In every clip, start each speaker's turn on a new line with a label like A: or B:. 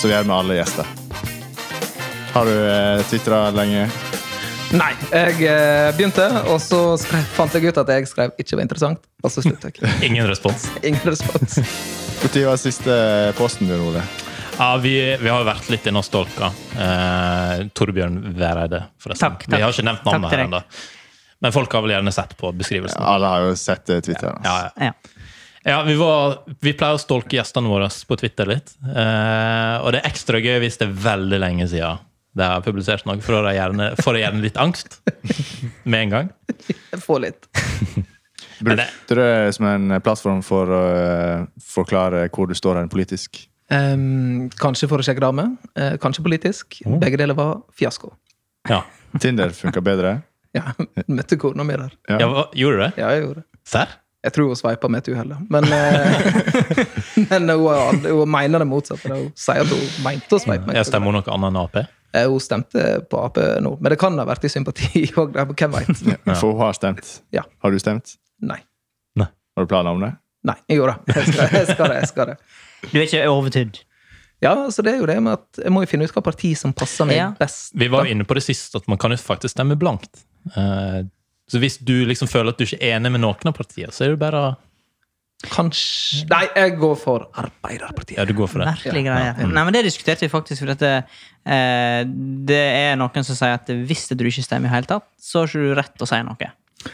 A: Så vi er med alle gjester. Har du eh, twitra lenge?
B: Nei. Jeg eh, begynte, og så skrev, fant jeg ut at jeg skrev ikke var interessant. Og så sluttet jeg.
C: Ingen respons.
B: Ingen respons.
A: Når var siste posten din, Ole?
C: Ja, vi, vi har jo vært litt inne og stalka. Eh, Torbjørn Væreide, forresten.
D: Takk, takk.
C: Vi har ikke nevnt
D: Takk
C: navnet
D: til
C: her
D: deg.
C: ennå. Men folk har vel gjerne sett på beskrivelsen.
A: Alle har jo sett eh, Twitter.
C: Ja,
A: Altså.
C: ja.
D: Ja.
C: Ja, vi, var, vi pleier å stalke gjestene våre på Twitter litt. Eh, og det er ekstra gøy hvis det er veldig lenge siden de har publisert noe, for da gjerne, får jeg gjerne litt angst med en gang.
B: Få litt.
C: Men det-
A: Brukte du det som en plattform for å eh, forklare hvor du står hen politisk?
B: Ehm, kanskje for å sjekke dame. eh, kanskje politisk. Begge deler var fiasko.
C: Ja.
A: Tinder funka bedre?
B: Ja, Møtte kona mi der.
A: Ja.
C: Ja, hva, gjorde du det?
B: Ja, jeg gjorde det.
C: Serr?
B: Jeg tror hun sveipa med et uhell, da. men, eh, men hun, har aldri- hun mener det motsatte. da. Hun sier at hun mente å sveipe meg.
C: Jeg stemmer noe annet enn Ap.
B: Eh, Hun stemte på Ap nå, men det kan ha vært i sympati òg, hvem veit.
A: For hun har stemt.
B: Ja.
A: Har du stemt?
B: Nei.
A: Har du planer om det?
B: Nei, jo da. Jeg skal, jeg skal det. jeg skal det.
D: Du er ikke overtydd.
B: Ja, så det er jo det med at Jeg må jo finne ut hva parti som passer meg
D: Ja.
B: best.
C: Vi var jo inne på det sist, at man kan jo faktisk stemme blankt. Eh, Så hvis du liksom føler at du ikke er enig med noen av partiene, så er det bare å-
B: Kanskje Nei, jeg går for Arbeiderpartiet.
C: Ja, du går for det.
D: Merkelige greier. Nei, men Det diskuterte vi faktisk. For dette, eh, det er noen som sier at hvis du ikke stemmer i hele tatt, så har ikke du rett til å si noe.
B: Ja,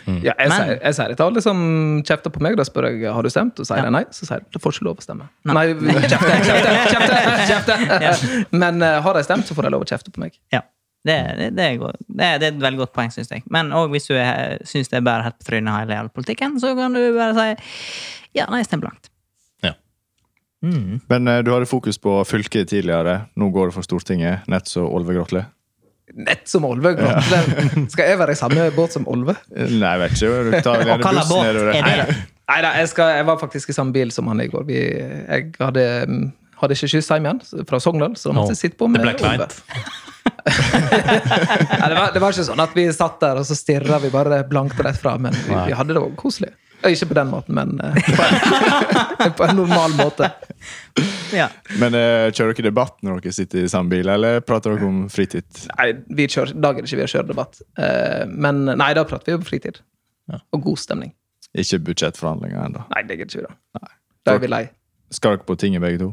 B: jeg,
D: Mm. Men-
B: sier, jeg sier det til alle som kjefter på meg. Da spør jeg har du stemt, og sier
D: Ja.
B: de nei. Så sier de det får ikke lov å stemme.
D: Nei.
B: Nei, kjefte, kjefte, kjefte, kjefte. Men eh, har de stemt, så får de lov å kjefte på meg.
D: Ja. Det, det, det, er, godt. det, er, det er et veldig godt poeng, syns jeg. Men òg hvis du syns det er bare helt på trynet hele jævla politikken, så kan du bare si ja, nei, stem blankt.
C: Ja.
D: Mm.
A: Men eh, du hadde fokus på fylket tidligere. Nå går det for Stortinget, nett som Olve Grotle.
B: Nett som Olve. Grotle. Skal jeg være i samme båt som Olve?
A: Eh, Nei, jeg vet ikke. Du tar vel
D: Og
A: gjerne
D: hva
A: bussen
D: båt
A: nedover.
D: er
A: Nei,
D: det?
B: Nei da, jeg, skal- jeg var faktisk i samme bil som han i går. Vi, jeg hadde, mm, hadde ikke skyss hjem igjen fra Sogndal, så da måtte jeg sitte på
C: Det
B: med
C: ble
B: Olve.
C: kleint.
B: Nei, det, var, det var ikke sånn at vi satt der og så stirra vi bare blankt rett fra, men vi, vi hadde det også koselig. Eh, Ikke på den måten, men eh, på en, på en normal måte.
D: Ja.
A: Men eh, kjører dere debatt når dere sitter i samme bil, eller prater dere om fritid?
B: Nei, vi kjører, da gidder ikke vi å kjøre debatt. Eh, men nei, da prater vi om fritid.
C: Ja.
B: Og god stemning.
A: Ikke budsjettforhandlinger ennå.
B: Nei, det gidder ikke vi da. Da er vi lei.
A: Skal dere på tinget, begge to?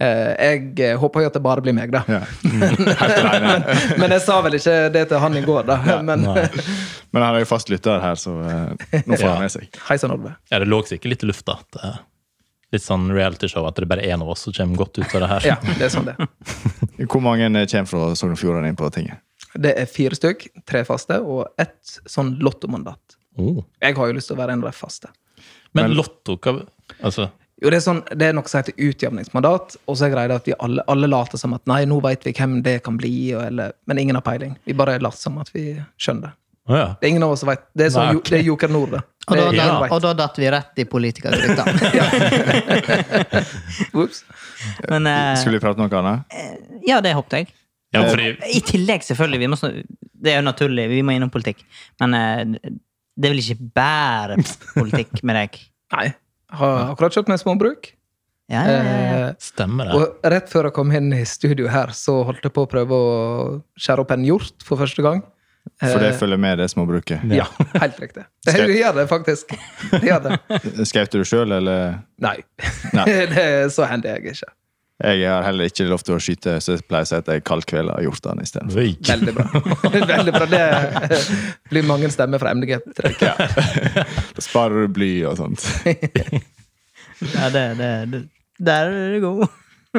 B: Eh, jeg eh, håper jo at det bare blir meg, da.
A: Ja.
C: Mm.
A: Helt alene.
B: Men jeg sa vel ikke det til han i går, da. Men
C: Nei.
A: Men han er jo fast lytter her, så eh, nå får
C: Ja.
A: han med seg.
B: hei sann, Olve.
C: Ja, det lå sikkert litt i lufta. at, eh, Litt sånn realityshow at det bare er én av oss som kommer godt ut av det her.
B: Ja, det er sånn det.
A: Hvor mange eh, kommer fra Sogn og Fjordane inn på tinget?
B: Det er fire stykk, tre faste, og ett sånn lottomandat.
C: Oh.
B: Jeg har jo lyst til å være en av de faste.
C: Men,
A: Men-
C: Lotto hva, altså,
B: Jo, det er, sånn, det er noe som heter utjevningsmandat, og så er greia det at vi alle, alle later som at nei, nå veit vi hvem det kan bli, og, eller, men ingen har peiling. Vi bare later som at vi skjønner det.
C: å ja.
B: Det er ingen av oss som veit. Det er, sånn,
C: Nei,
B: jo-
C: ok.
B: det er Joker Nord, det.
D: Og da,
B: Det er
D: da,
B: ingen
C: Ja.
B: vet.
D: og da datt vi rett i politikergryta.
B: Ups.
D: Men eh,
A: Skulle vi prate om noe annet?
D: ja, det håpte jeg.
C: ja fordi,
D: I tillegg, selvfølgelig. Vi må, snak- det er jo naturlig, vi må innom politikk. Men eh, det er vel ikke bare politikk med deg?
B: Nei. Har akkurat kjøpt meg småbruk.
D: Ja, ja, ja, ja.
B: Eh,
C: stemmer det?
B: Og rett før jeg kom inn i studio her, så holdt jeg på å prøve å skjære opp en hjort for første gang.
A: For det
B: Eh,
A: følger med det småbruket.
B: Ja, helt riktig. Det
A: Skal-
B: gjør det faktisk. Det gjør det.
A: Skjøt du sjøl, eller?
B: Nei.
A: Nei.
B: det er så handy jeg er ikke.
A: Jeg har heller ikke lov til å skyte, så jeg pleier å si at jeg kaldkveler hjortene isteden.
C: Oi.
B: Veldig bra. Veldig bra. Det eh, blir mange stemmer fra MDG. tror jeg.
A: Ja. Da sparer du bly og sånt.
D: ja det, det, det, der er du god.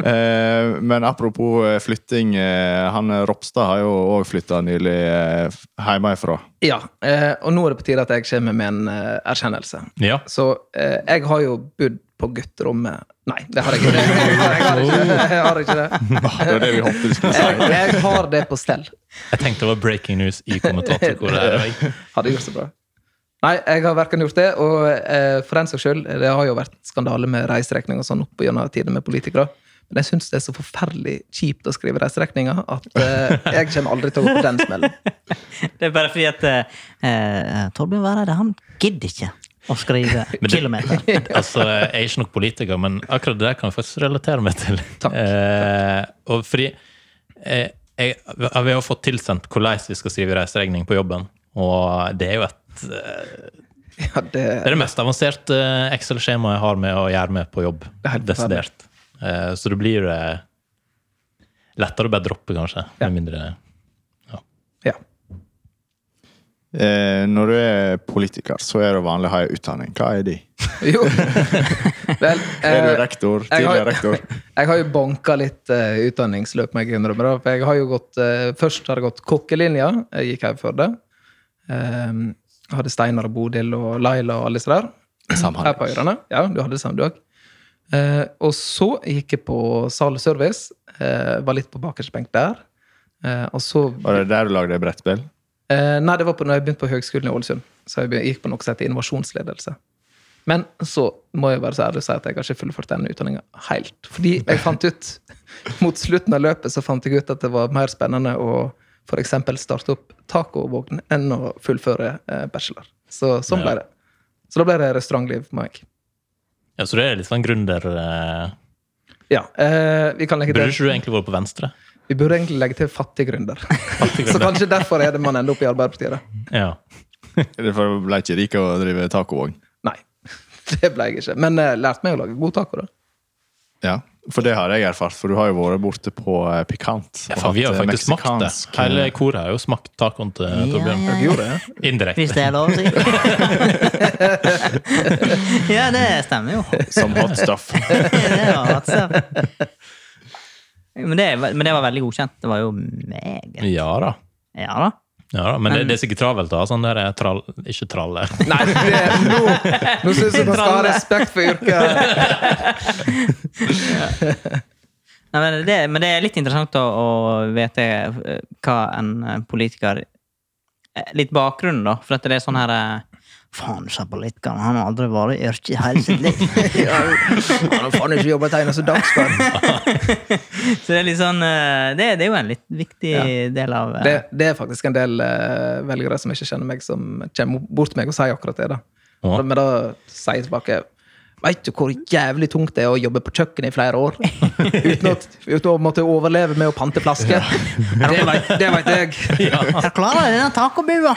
A: Eh, men apropos eh, flytting. eh, Han eh, Ropstad har jo òg flytta nylig eh, f- hjemmefra.
B: Ja, eh, og nå er det på tide at jeg kommer med en eh, erkjennelse.
C: Ja.
B: Så eh, jeg har jo bodd på gutterommet Nei, det har jeg ikke. Jeg har ikke det. Jeg har ikke det.
A: Ah, Det var det vi håpte du skulle si.
B: Jeg, jeg har det på stell.
C: Jeg tenkte det var breaking news i kommentatorkoret.
B: Hadde gjort så bra. Nei, jeg har verken gjort det, og eh, for den saks skyld, det har jo vært skandale med reiseregning og sånn opp gjennom tiden med politikere. Men jeg syns det er så forferdelig kjipt å skrive reiseregninger at eh, jeg kommer aldri til å gå på den smellen.
D: Det er bare fordi at eh, Torbjørn Væreide, han gidder ikke å skrive
C: Men det-
D: kilometer.
C: Altså, jeg er ikke nok politiker, men akkurat det der kan jeg faktisk relatere meg til.
B: Takk.
C: Eh, og fordi eh, jeg, Vi har fått tilsendt hvordan vi skal skrive reiseregning på jobben, og det er jo et eh,
B: Ja, det,
C: Det er det mest avanserte eh, Excel-skjemaet jeg har med å gjøre med på jobb.
B: Det er helt
C: Desidert. Eh, Så det blir eh, lettere å bare droppe, kanskje.
B: Ja.
C: Med mindre
B: ja.
A: Eh, når du er politiker, så er det vanlig å ha en utdanning. Hva er de?
B: Jo. Vel,
A: Er du
B: eh,
A: rektor?
B: jeg har-
A: Tidligere rektor?
B: Jeg har jo banka litt eh, utdanningsløp, må jeg innrømme. da, For jeg har jo gått, eh, først har jeg gått kokkelinja. Jeg gikk her før det. Ehm, hadde Steinar og Bodil og Laila og alle disse der. Her på Øyrene. Ja, du hadde det samme, du òg. og så gikk jeg på salservice. eh, var litt på bakerste benk der. Eh, og så
A: Var det der du lagde brettspill?
B: Eh, nei, det var på, når jeg begynte på Høgskolen i Ålesund. Så jeg be- gikk på noe som heter innovasjonsledelse. Men så må jeg være så ærlig og si at jeg har ikke fullført den utdanninga helt. Fordi jeg fant ut mot slutten av løpet så fant jeg ut at det var mer spennende å f.eks. starte opp tacovogn enn å fullføre eh, bachelor. Så sånn ble det. Så da ble det restaurantliv for meg.
C: Ja, så det er litt sånn gründer eh,
B: Ja, eh, vi, kan legge
C: Burde
B: til,
C: ikke du egentlig vært på venstre?
B: vi burde egentlig legge til fattig gründer.
C: Fattig
B: så
C: gründer.
B: kanskje derfor er det man ender opp i Arbeiderpartiet. da.
C: Ja.
A: Eller for ble ikke rik av å drive tacovogn?
B: Nei, det ble jeg ikke. Men eh, lærte meg å lage god taco, da.
A: Ja, for det har jeg erfart, for du har jo vært borte på eh, Pikant.
C: Ja,
A: og
C: for vi har
A: hatt, eh,
C: faktisk smakt det.
A: meksikansk, eh,
C: Hele koret har jo smakt tacoen til
D: Ja,
C: Torbjørn.
D: ja, ja.
B: Gjorde jeg?
D: Hvis
C: Indirekte.
D: det er lov å si. ja, det stemmer jo.
A: Som hot stuff.
D: Det var altså. men, det, men det var veldig godkjent. Det var jo meget
C: Ja da.
D: Ja da.
C: Ja da. Men det, det er sikkert travelt å ha sånn der eh, trall... Ikke tralle.
B: Nei, det, nå, nå syns jeg man skal ha respekt for yrket.
D: Nei, men, det, men det er litt interessant å, å vite eh, hva en eh, politiker eh, Litt bakgrunnen, da. For at det er sånn her eh, Faen, sa politikeren. Han har aldri vært i yrket i hele sitt liv.
B: Ja, Han har faen ikke jobba et eneste dagsverk.
D: Så det er litt sånn eh, Det, det er jo en litt viktig del av eh,
B: Det, det er faktisk en del eh, velgere som ikke kjenner meg, som kommer bort til meg og sier akkurat det. da.
C: Ja.
B: Men da sier jeg tilbake Veit du hvor jævlig tungt det er å jobbe på kjøkkenet i flere år? Uten, å- uten å måtte overleve med å pante flasker? Det vet- Det veit jeg.
D: Her klarer jeg denne tacobua!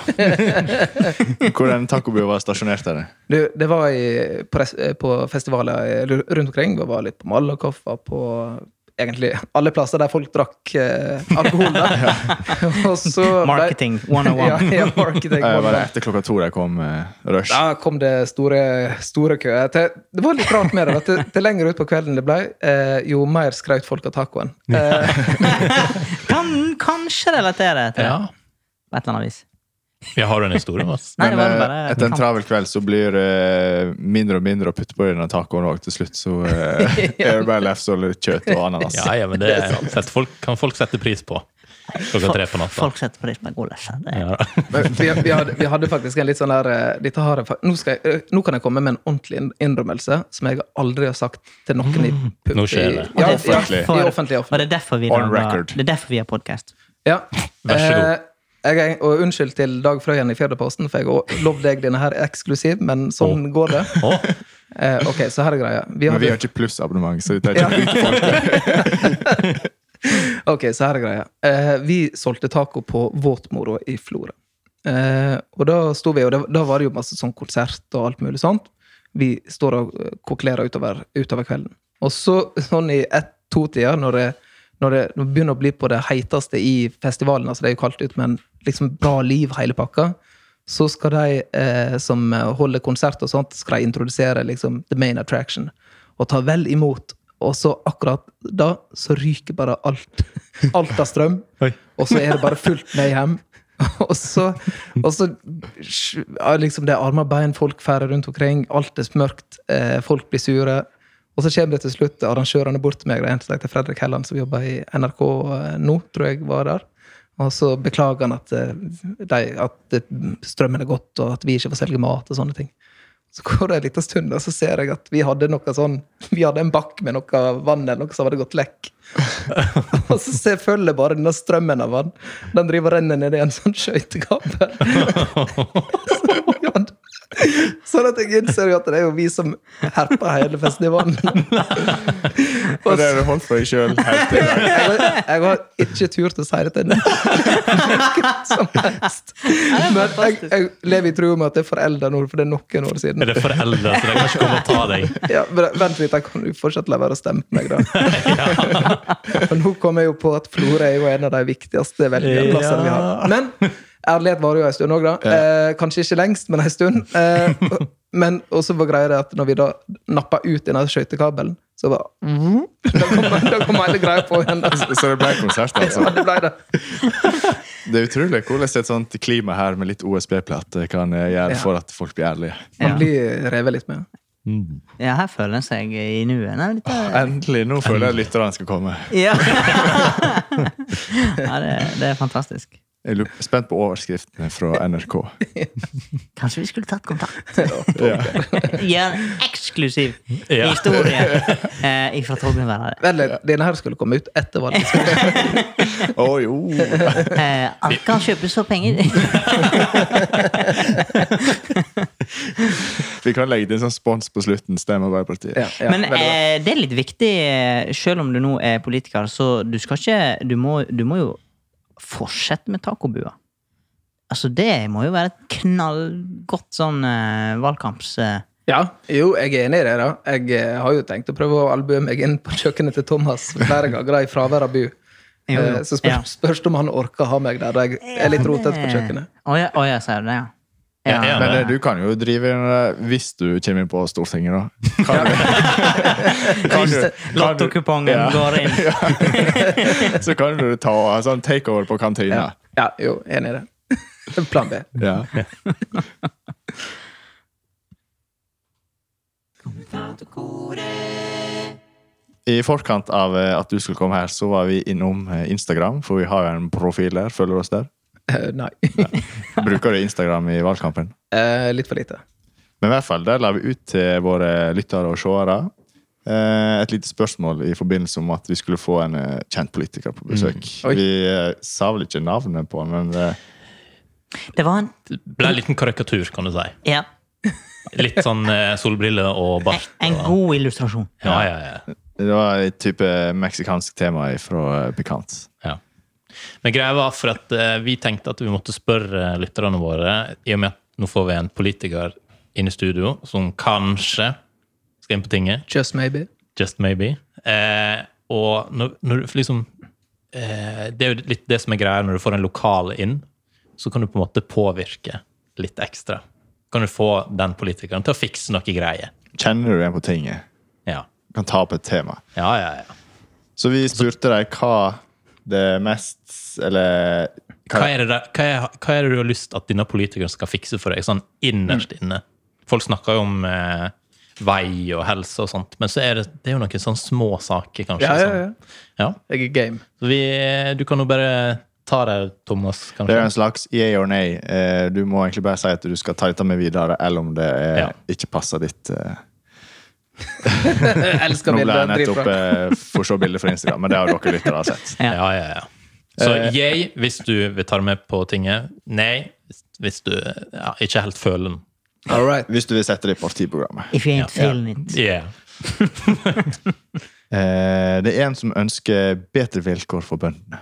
A: Hvor den tacobua var stationert der.
B: Du, det var i, på, res- eh, på festivaler eh, ru- rundt omkring. Vi var litt på Malakoff, var på egentlig alle plasser der folk drakk eh, alkohol. Da. Og så ble-
D: Marketing 101.
B: Ja, ja, marketing
A: Eh, Var det
B: 101.
A: etter klokka to der kom eh, rush?
B: Da kom det store, store køer. Til, det var litt rart med det. Til, til lenger ut på kvelden det ble, eh, jo mer skraut folk av tacoen. Eh,
D: Kan kanskje relatere til det
C: Ja.
D: på et eller annet vis.
C: ja. Har du en historie om oss?
D: Nei, det
A: Men
D: var
A: eh,
D: bare
A: etter en travel kveld så blir det mindre og mindre å putte på i denne tacoen òg. Til slutt så eh, er det bare lefse og litt kjøtt og ananas.
C: Ja, ja, men det setter folk, kan folk sette pris på klokka tre på natta.
D: Folk setter pris på en god lesje. Det er
C: Ja, da.
B: Men vi, vi, hadde, vi hadde faktisk en litt sånn der eh, dette har jeg, fa- nå, skal jeg, eh, nå kan jeg komme med en ordentlig inn- innrømmelse som jeg aldri har sagt til noen i pub-
C: Mm, Nå skjer det.
B: i-
D: Og det
B: Ja,
D: er
B: offentlig.
D: derfor-
B: I offentlig,
D: Og det
B: offentlig.
D: er derfor vi
A: On
D: lager-
A: record.
D: Det er derfor vi har podkast.
B: Ja.
C: Vær så god.
B: Eh, jeg, er- og unnskyld til Dag Frøyen i Fjederposten, for jeg har lovd deg denne her eksklusiv, men sånn går det.
C: Å,
B: Eh, ok, så her er greia. Vi
A: Men vi har
B: hadde,
A: ikke plussabonnement, så det er ikke
B: Ja. ok, så her er greia. Eh, vi solgte taco på Våtmoro i Florø. Eh, og da sto vi, og da, da var det jo masse sånn konsert og alt mulig sånt. Vi står og eh, kokkelerer utover, utover kvelden. Og så sånn i ett-to-tida, når, det- når, det- når det begynner å bli på det heiteste i festivalen, altså det er jo kaldt ut, men liksom bra liv hele pakka, så skal de eh, som holder konsert og sånt, skal de introdusere liksom the main attraction. Og ta vel imot. Og så akkurat da så ryker bare alt. Alt av strøm. Og så er det bare fullt mayhem. Og så, og så sj- ja, liksom Det er armer og bein, folk færre rundt omkring. Alt er mørkt. Eh, folk blir sure. Og så kommer det til slutt arrangørene bort til meg. Det er en som heter Fredrik Helland, som jobber i NRK eh, nå, tror jeg var der. Og så beklager han at, eh, de, at eh, strømmen er gått, og at vi ikke får selge mat og sånne ting. Så går det en liten stund, og så ser jeg at vi hadde noe sånn, vi hadde en bakk med noe vann eller noe som hadde gått lekk. og så ser- følger jeg bare denne strømmen av vann. Den driver og renner ned i en sånn skøytekabel. Så- sånn at jeg innser jo at det er jo vi som herper hele festivalen.
A: Og det har du holdt for deg sjøl helt til i dag.
B: Jeg har, jeg har ikke turt å si det til noen som helst. Men jeg, jeg lever i troa med at det er forelda nå, for det er noen år siden.
C: Er det foreldre, så de kan ikke komme og ta deg?
B: Ja, men Vent litt, jeg kan jo fortsatt la være å stemme på meg, da. Men nå kom jeg jo på at Florø er jo en av de viktigste velgerplassene vi har. Men ærlighet varer jo en stund òg, da. Eh, kanskje ikke lengst, men en stund. Eh, og- men også var greia det at når vi da nappa ut denne skøytekabelen, så var da kom, da kom hele greia på igjen. Altså.
A: Så det ble konsert,
B: Ja,
A: altså.
B: det ble det.
A: Det er utrolig hvordan et sånt klima her med litt OSB-plate kan eh, gjøre for at folk blir ærlige.
B: Man
D: Ja.
B: blir revet litt med.
D: Ja, her føler en seg i nuet. Nei, dette er-
A: Endelig! Nå føler jeg lytterne skal komme.
D: Ja, ja det, det er fantastisk.
A: Jeg er spent på overskriftene fra NRK.
D: Kanskje vi skulle tatt kontakt?
A: Ja.
D: Gjøre en eksklusiv
C: Ja.
D: historie eh, fra Torbjørn
B: Eller denne her skulle komme ut etter valget.
A: Å, jo. oh.
D: Eh, alt kan kjøpes for penger.
A: Vi kan legge til en sånn spons på slutten. Stem Arbeiderpartiet.
B: Ja, ja,
D: Men
B: veldig bra.
D: eh, det er litt viktig, eh, selv om du nå er politiker, så du skal ikke Du må, du må jo fortsette med tacobua. Altså, det må jo være et knallgodt sånn eh, valgkamps... Eh.
B: Ja, jo, jeg er enig i det. da. Jeg eh, har jo tenkt å prøve å albue meg inn på kjøkkenet til Thomas flere ganger i fravær av Bu.
D: Jo, jo.
B: Eh, Så spørs,
D: Ja.
B: spørs det om han orker å ha meg der. da Jeg er litt rotete på kjøkkenet.
D: Eh, Å ja, å ja, sier du det, ja.
C: Ja, ja,
A: Men eh, du kan jo drive inn eh, hvis du kommer inn på Stortinget, da. Kan du, kan du, kan du,
D: Lottokupongen
A: Ja.
D: går inn.
A: så kan du ta eh, sånn takeover på
B: Ja,
A: kantina.
B: ja jo, enig i det. Plan B.
A: Ja. I forkant av eh, at du skulle komme her, så var vi innom eh, Instagram, for vi har jo en profil der. Følger du oss der?
B: Eh, Nei.
A: Bruker du Instagram i valgkampen?
B: Eh, Litt for lite.
A: Men i hvert fall, der la vi ut til våre lyttere og seere eh, et lite spørsmål i forbindelse med at vi skulle få en eh, kjent politiker på besøk.
B: Oi.
A: Vi eh, sa vel ikke navnet på han, men eh,
D: Det var en
C: Ble en liten karikatur, kan du si.
D: Ja,
C: Litt sånn eh, solbriller og
D: en,
C: bart.
D: en
C: og-
D: god illustrasjon.
C: Ja, ja, ja.
A: det var et type meksikansk tema fra eh, Pikant.
C: ja. Men greia var for at eh, vi tenkte at vi måtte spørre lytterne våre, i og med at nå får vi en politiker inn i studio som kanskje skal inn på tinget.
B: Just maybe.
C: Just maybe. Eh, og når, når du liksom eh, Det er jo litt det som er greia når du får en lokal inn, så kan du på en måte påvirke litt ekstra. Kan du få den politikeren til å fikse noe greier.
A: Kjenner du en på tinget?
C: Ja,
A: Kan ta opp et tema.
C: ja, ja. ja.
A: Så vi spurte dem hva det mest Eller
C: Hva, er det, der- hva, er, hva er det du har lyst at denne politikeren skal fikse for deg, sånn innerst inne? Folk snakker jo om eh, vei og helse og sånt, men så er det, det er jo noen sånne små saker, kanskje.
B: Ja, ja, ja.
C: sånn. ja.
B: Jeg er game.
C: Så vi, du kan jo bare ta det, Thomas, kanskje.
A: Det er en slags yeah or nay. Eh, Du må egentlig bare si at du skal ta dette med videre, eller om det er,
C: Ja.
A: ikke passer ditt eh,
B: Jeg elsker
A: Nå ble jeg
B: bilder.
A: nettopp
B: Dritbra.
A: eh, for så bilder fra Instagram, men det har dere lyttere sett.
D: Ja.
C: Ja, ja, ja. Så yay hvis du vil ta det med på tinget. Nei hvis- hvis du ja, ikke helt føler den.
B: All right.
A: Hvis du vil sette det i partiprogrammet.
D: If you ain't feeling it.
C: Yeah.
A: Eh, det er en som ønsker bedre vilkår for bøndene.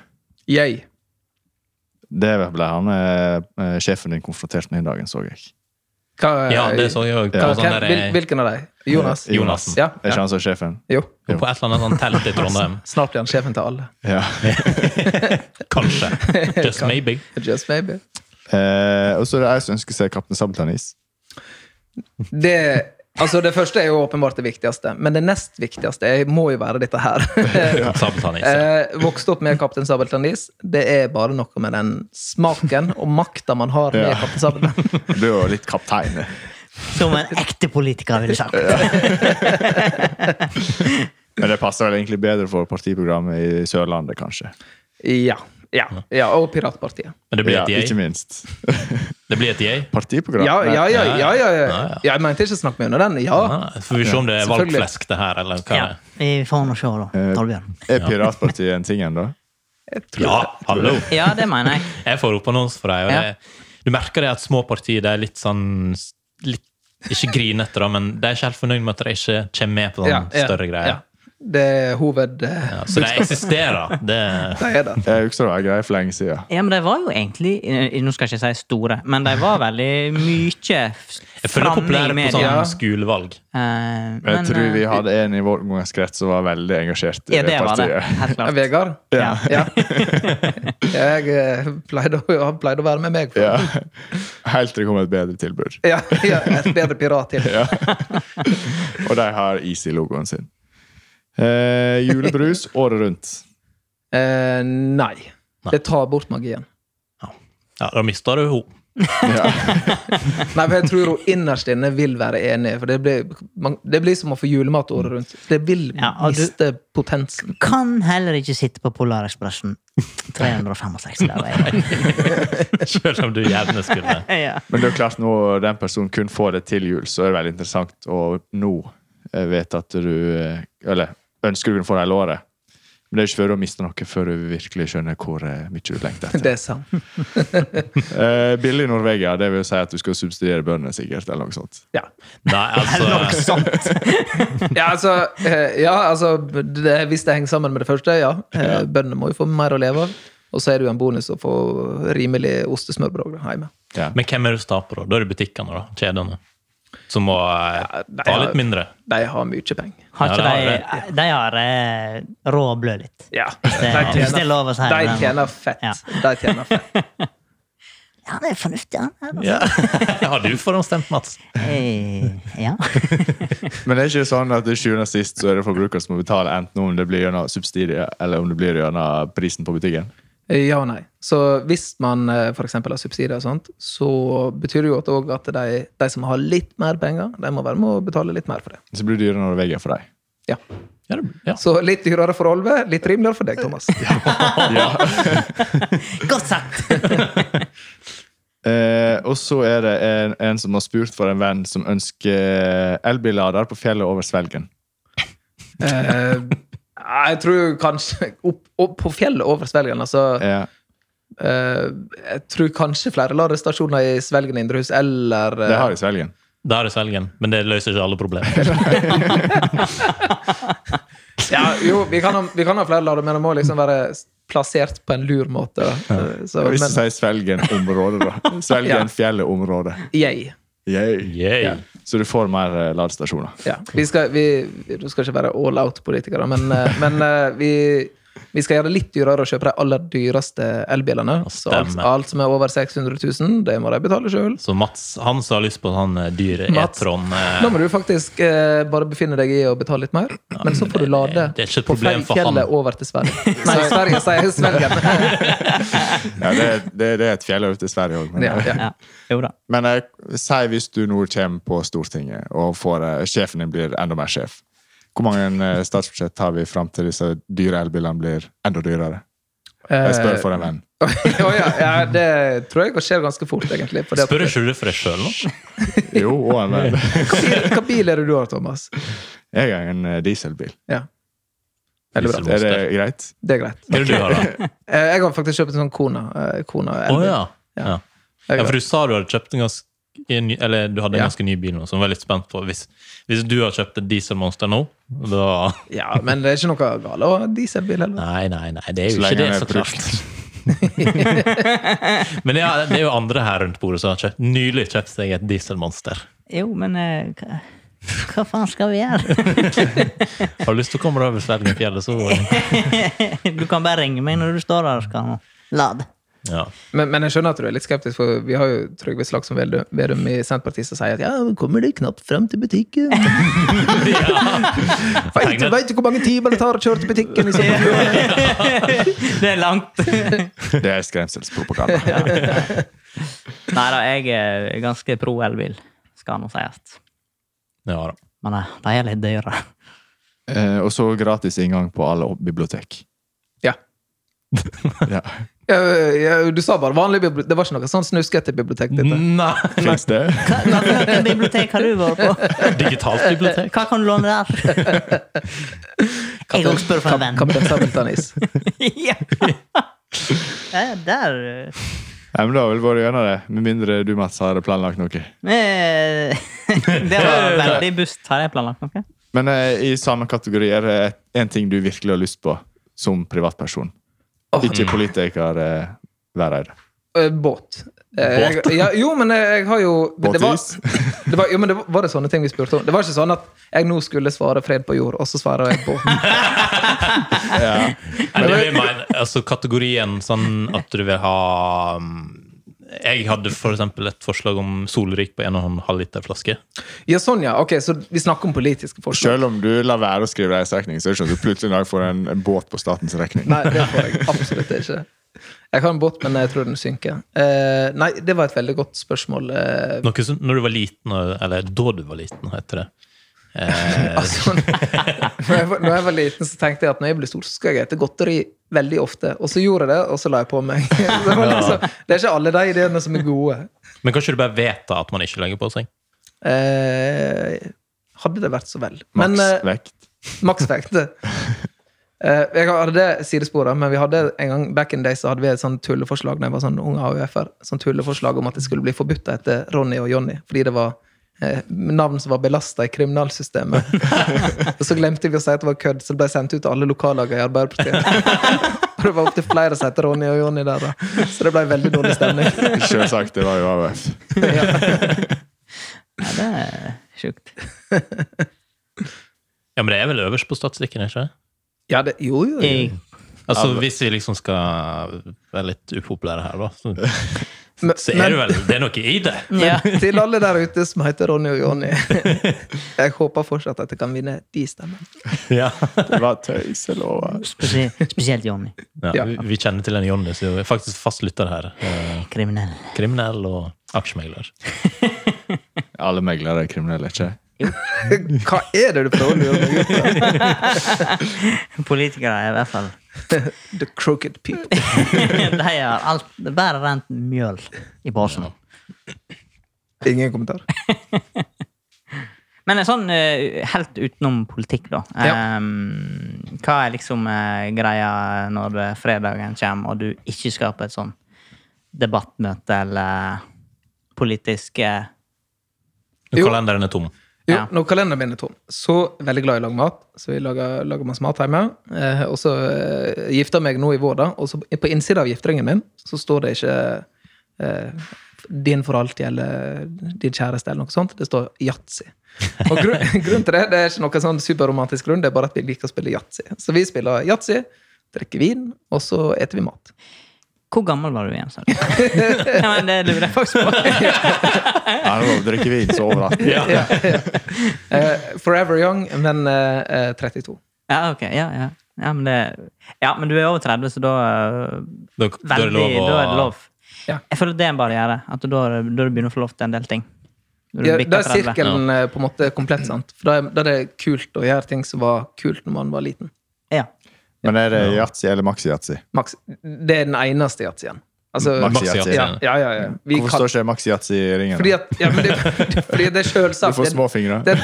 B: Yay.
A: Det ble han eh, eh, sjefen din konfrontert med i dagen, så jeg.
B: Hva, eh,
C: Ja, det så sånn eh, jeg òg.
B: hva- hvem- hvil- Hvilken av dem? Jonas?
A: Eh,
C: Jonassen.
B: Ja,
A: Er
B: ja.
A: ikke han som er sjefen?
B: Jo.
C: På et eller annet sånn telt i Trondheim.
B: Snart blir han sjefen til alle.
A: Ja.
C: Kanskje. Just maybe.
B: Just maybe.
A: Eh, og så er det jeg som ønsker seg Kaptein Sabeltann-is.
B: Det, altså det første er jo åpenbart det viktigste, men det nest viktigste er, må jo være dette her.
C: Sabeltannis.
B: eh, vokste opp med Kaptein Sabeltann Is. Det er bare noe med den smaken og makta man har med
A: Ja.
B: Kaptein Sabeltann.
A: Du er jo litt kaptein.
D: Som en ekte politiker ville sagt.
A: Men det passer vel egentlig bedre for partiprogrammet i Sørlandet, kanskje.
B: Ja. ja, ja og Piratpartiet.
C: Men det blir
A: Ja,
C: et
A: ikke
C: jeg.
A: minst.
C: Det blir et jeg.
A: Partiprogram?
B: Ja, ja, ja. ja, ja, ja.
C: Ja, ja.
B: Jeg mente ikke å snakke meg under den. Ja.
C: Ah, får vi se om det er
B: Selvfølgelig.
C: valgflesk, det her, eller hva
D: Ja,
C: det er.
D: vi får nå se, da.
A: Eh,
D: Torbjørn.
A: Er piratpartiet en ting ennå?
B: Jeg tror
C: Ja,
B: det.
C: hallo!
D: Ja, det mener jeg.
C: Jeg får opp annons for deg. Og
D: Ja.
C: det, du merker det at små partier det er litt sånn litt, Ikke grinete, da, men de er ikke helt fornøyd med at de ikke kommer med på sånne
B: Ja, ja,
C: større greier.
B: ja. Det er hoved... eh,
C: Ja, så de eksisterer. Det,
B: De er der.
A: Jeg husker det var greier for lenge siden.
D: Ja, men de var jo egentlig eh, Nå skal jeg ikke si store, men de var veldig mye f-
C: jeg føler det er
D: framme i
C: populært på
D: media.
C: sånn
B: Ja.
C: skolevalg.
D: Eh,
A: Jeg
D: men,
A: tror vi
D: eh,
A: hadde en i vår omgangskrets som var veldig engasjert i
D: Ja, det var det.
A: partiet.
D: Helt klart.
B: Vegard?
D: Ja.
B: Ja. Jeg eh, pleide å, han pleide å være med meg.
A: Ja. Helt til det kom et bedre tilbud.
B: Ja, ja, et bedre pirat til.
A: Og de har is i logoen sin. Eh, julebrus året rundt.
B: Eh, nei. Det tar bort magien.
C: Ja, Da mister du henne.
A: Ja.
B: Nei, for jeg tror hun innerst inne vil være enig. For det blir, man, det blir som å få julemat året rundt. Det vil
D: Ja, og du-
B: miste potensen.
D: Kan heller ikke sitte på Polarekspressen 365 dager.
C: Selv om du gjerne skulle.
D: Ja.
A: Men det er jo klart når den personen kun får det til jul, så er det veldig interessant å nå eh, vite at du eh, Eller ønsker du kunne få det hele året. Men det er jo ikke før du har mistet noe, før du virkelig skjønner hvor eh, mye du lengter etter.
B: Det er sant.
A: Eh, billig Norvegia, det vil si at du skal subsidiere bøndene, sikkert. eller noe sånt.
B: Ja.
C: Nei, altså
B: sånn. Ja, altså, eh, ja, altså det, Hvis det henger sammen med det første, ja. Eh, Bøndene må jo få mer å leve av. Og så er det jo en bonus å få rimelig ostesmørbrød hjemme.
A: Ja.
C: Men hvem er det som taper, da? Da er det butikkene, da. Kjedene. Som må eh,
B: nei,
C: ta
B: ja.
C: litt mindre.
B: De har mye penger.
D: Har
C: Ja,
D: ikke
C: det har
D: de, de har eh, råd å blø litt.
B: Ja,
D: Det, hvis det er lov å si.
B: De
D: men-
B: tjener fett.
D: Ja.
B: De tjener fett.
D: Ja, det er fornuftig. han her, altså.
C: Ja. Har du forhåndsstemt, Mats?
D: Eh, Ja.
A: Men det er ikke sånn at til sjuende og sist så er det forbrukeren som må betale, enten om det blir gjennom subsidier eller om det blir gjennom prisen på butikken.
B: Ja og nei. Så hvis man f.eks. har subsidier og sånt, så betyr det jo at, også at de, de som har litt mer penger, de må være med å betale litt mer for det.
A: Så blir det dyrere Norvegia for deg.
B: Ja.
C: Ja, det, ja.
B: Så litt dyrere for Olve, litt rimeligere for deg, Thomas.
D: Godt sagt!
A: Eh, og så er det en, en som har spurt for en venn som ønsker eh, elbillader på fjellet over Svelgen.
B: Eh, jeg tror kanskje opp, opp på fjellet over Svelgen, altså.
A: Ja.
B: eh, jeg tror kanskje flere ladestasjoner i Svelgen indrehus, eller eh,
A: Det har de i Svelgen.
C: Da er det Svelgen. Men det løser ikke alle problemer.
B: ja, Jo, vi kan, ha, vi kan ha flere lader, men det må liksom være plassert på en lur måte. da. Eh, Så,
A: Hvis du
B: men,
A: sier Svelgen-området, da.
B: Ja.
A: Svelgen-fjellet-området.
B: yay.
A: Yay.
C: Yay.
A: Så du får mer eh, ladestasjoner.
B: Ja, vi skal, vi, du skal ikke være all out-politikere, men, eh, men eh, vi, vi skal gjøre det litt dyrere å kjøpe de aller dyreste elbilene. Så alt,
C: Stemmer.
B: alt som er over 600 000, det må de betale sjøl.
C: Så Mats, han som har lyst på sånn eh, dyr
B: Mats.
C: E-tron eh,
B: Nå må du faktisk eh, bare befinne deg i å betale litt mer, men så får du lade
C: det er ikke et
B: på
C: problem for han.
B: fjellet over til Sverige. Nei, Sverige, sier jeg Svelgen.
A: Ja, det, er- det, er- det er et fjell ute i Sverige òg. Men,
B: ja, ja.
D: Ja. Jo da.
A: men jeg, si hvis du nå kommer på Stortinget, og får, eh, sjefen din blir enda mer sjef. Hvor mange eh, statsbudsjett har vi fram til disse dyre elbilene blir enda dyrere? Jeg spør for en venn.
B: Å ja, ja, det tror jeg skjer ganske fort, egentlig. fordi at-
C: Spør ikke du for deg sjøl nå?
B: Eh.
A: Jo, og en venn.
B: Hva bil, hva bil er det du har, Thomas?
A: Jeg har en eh, dieselbil.
B: Ja. Veldig bra.
C: Diesel.
A: Er det greit?
B: Det er greit.
C: Hva er det du har, da?
B: Eh, Jeg har faktisk kjøpt en sånn Kona. eh, Kona
C: Å
B: elbil.
C: ja. ja.
B: Jeg
C: Ja,
B: har-
C: for du sa du hadde kjøpt en ganske ny, eller du hadde en
B: Ja.
C: ganske ny bil nå, som jeg var litt spent på. Hvis, hvis du har kjøpt et dieselmonster nå, da
B: Ja, men det er ikke noe galt å ha en dieselbil heller.
C: Nei, nei, nei, det er
A: Så
C: jo
A: lenge
C: ikke det,
A: den er
C: så
A: brukt.
C: klart. Men ja, det er jo andre her rundt bordet som har kjøpt, nylig kjøpt seg et dieselmonster.
D: Jo, men eh, hva, hva faen skal vi gjøre?
C: Har du lyst til å komme deg over Svelgenfjellet, så
D: Du kan bare ringe meg når du står der og skal ha lad.
C: ja.
B: Men, men jeg skjønner at du er litt skeptisk, for vi har jo Trygve Slagsvold Vedum- Vedum i Senterpartiet som sier at ja, nå kommer det knapt frem til butikken. Veit du, vet du hvor mange timer det tar å kjøre til butikken? i Sogn?
D: Det er langt.
A: Det er skremselspropaganda.
D: Nei da, jeg er ganske pro elbil. skal nå sies.
C: Ja da.
D: Men eh, de er litt dyre.
A: Eh, og så gratis inngang på alle bibliotek.
B: Ja.
A: ja.
B: Ja, ja, du sa bare vanlig bibliotek. Det var ikke noe sånn snuskete bibliotek? Dette.
C: Nei!
A: Fins det?
D: Hva, hva, hvilken bibliotek har du vært på?
C: Digitalt bibliotek.
D: Hva kan du låne der? Jeg òg spør for en venn.
B: Kaptein Sabeltann-is.
D: ja. Ja, Der eh,
A: Ja, men da har vel vært gjennom det. Med mindre du, Mats, har planlagt noe.
D: Eh, Det var veldig bust. Har jeg planlagt noe?
A: Men eh, i samme kategori er det en ting du virkelig har lyst på som privatperson.
B: Åh.
A: Ikke politiker eh, være her.
B: Eh, Båt. Eh, jeg- Ja, jo, men eh, jeg har jo det var,
A: Båtis?
B: det var, jo, men det var, var det sånne ting vi spurte om? Det var ikke sånn at jeg nå skulle svare 'fred på jord', og så svarer jeg båten.
A: Ja.
C: Er det vi mener, altså kategorien sånn at du vil ha um, Jeg hadde for eksempel et forslag om solrik på 1,5 liter flaske.
B: Ja, sånn, ja. Ok, så vi snakker om politiske forslag.
A: Selv om du lar være å skrive reiseregning, så er det ikke sånn at du plutselig en dag får en en båt på statens regning.
B: Nei, det får jeg absolutt ikke. Jeg har en båt, men jeg tror den synker. Eh, nei, det var et veldig godt spørsmål. Eh,
C: Noe som når du var liten, eller da du var liten, heter det. Eh,
B: Altså, når, jeg var, når jeg var liten, så tenkte jeg at når jeg blir stor, så skal jeg hete godteri veldig ofte. Og så gjorde jeg det, og så la jeg på meg. Så det var liksom, det er ikke alle de ideene som er gode.
C: men kanskje du bare vet da at man ikke legger på seg?
B: Eh, hadde det vært så vel. Men
A: Maks
B: eh,
A: vekt.
B: maksvekt. Eh, jeg hadde det sidesporet, men vi hadde en gang back in day, så hadde vi et sånt tulleforslag når jeg var sånn ung AUF-er. Sånn tulleforslag om at det skulle bli forbudt å hete Ronny og Jonny. Fordi det var eh, navn som var belasta i kriminalsystemet. og så glemte vi å si at det var kødd, så det ble sendt ut til alle lokallagene i Arbeiderpartiet. og det var opptil flere som het Ronny og Jonny der, da. Så det ble veldig dårlig stemning.
A: Selvsagt, det var jo AUF.
D: Ja, det er sjukt.
C: Ja, men det er vel øverst på statistikken, ikke det?
B: ja, det, jo, jo, jo.
D: Jeg,
C: Altså, Hvis vi liksom skal være litt upopulære her, da, så,
B: Men-
C: så er det vel Det er noe i det!
D: ja.
B: Til alle der ute som heter Ronny og Jonny. Jeg håper fortsatt at jeg kan vinne de stemmene.
C: Ja.
A: Det var tøys, jeg lover.
D: Spesielt, spesielt Johnny.
B: Ja.
C: vi, vi kjenner til en Jonny som er faktisk fast lytter her. Eh,
D: Kriminell.
C: Kriminell og aksjemegler.
A: Alle meglere er kriminelle, ikke?
B: Hva er det du prøver å lure meg ut av?
D: Politikere er i hvert fall
B: The crooked people.
D: De har alt det er bare rent mjøl i posen.
B: Ingen kommentar.
D: Men sånn eh, helt utenom politikk, da.
B: Ja.
D: Ehm, hva er liksom eh, greia når eh, fredagen kommer, og du ikke skal på et sånn debattmøte eller politisk eh,
C: Når
B: Jo.
C: kalenderen er tom.
B: Jo,
D: Ja.
B: når kalenderen min er tom, så veldig glad i å lage mat. Så vi lager, lager masse mat hjemme. Eh, og så eh, gifter jeg meg nå i vår, da. Og så på innsida av gifteringen min så står det ikke eh, 'din for alltid' eller 'din kjæreste' eller noe sånt. Det står yatzy. Og grunn, grunnen til det det er ikke noen sånn superromantisk grunn, det er bare at vi liker å spille yatzy. Så vi spiller yatzy, drikker vin, og så eter vi mat.
D: Hvor gammel var du igjen, sa du? ja, men det lurer jeg faktisk på.
A: Ja, det var å drikke vin så overalt.
C: Ja.
B: Ja, ja. Eh, forever young, men eh, eh, 32.
D: Ja, ok. Ja, ja. Ja, men det, ja, men du er over 30, så da eh,
C: Da, da er det
D: Veldig,
C: lov å
D: da er det lov.
B: Ja.
D: Jeg føler det er en barriere. At da er det- da er du begynner å få lov til en del ting. Når du
B: Ja,
D: bikker
B: da er
D: 30.
B: sirkelen eh, på en måte komplett, sant? For da er, da er det kult å gjøre ting som var kult når man var liten.
D: Ja.
A: Men er det yatzy eller maxi-yatzy?
B: Max, det er den eneste yatzyen. Altså,
A: Max-
C: Maxi-Yatzy.
B: ja, ja, ja, ja. Vi
A: Hvorfor
B: kan,
A: står ikke maxi-yatzy i ringen?
B: fordi, at, ja, men det, fordi det
A: Du
B: er selvsagt.
A: får små
B: Det,
A: fingre.
B: det,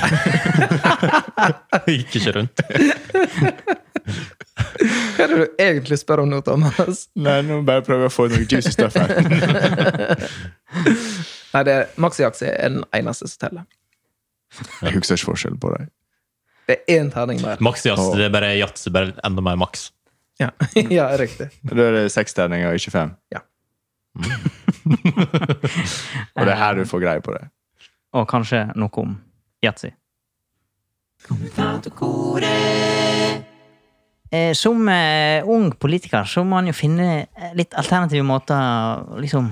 B: hva
C: Gikk ikke rundt.
B: er det du egentlig spør om nå, Thomas?
A: Nei, nå bare prøver jeg å få ut noe juicy stuff her.
B: Nei, det er maxi-yatzy er den eneste som teller.
A: Jeg husker ikke forskjell på dem.
B: Det er én terning mer.
C: Maxi-jazz, det er bare jazz, det er bare enda mer maks.
B: Ja, ja riktig.
A: Da er det seks terninger, ikke fem.
B: Ja.
A: Og det er her du får greie på det.
D: Og kanskje noe om yatzy. Eh, Som eh, ung politiker så må man jo finne eh, litt alternative måter å liksom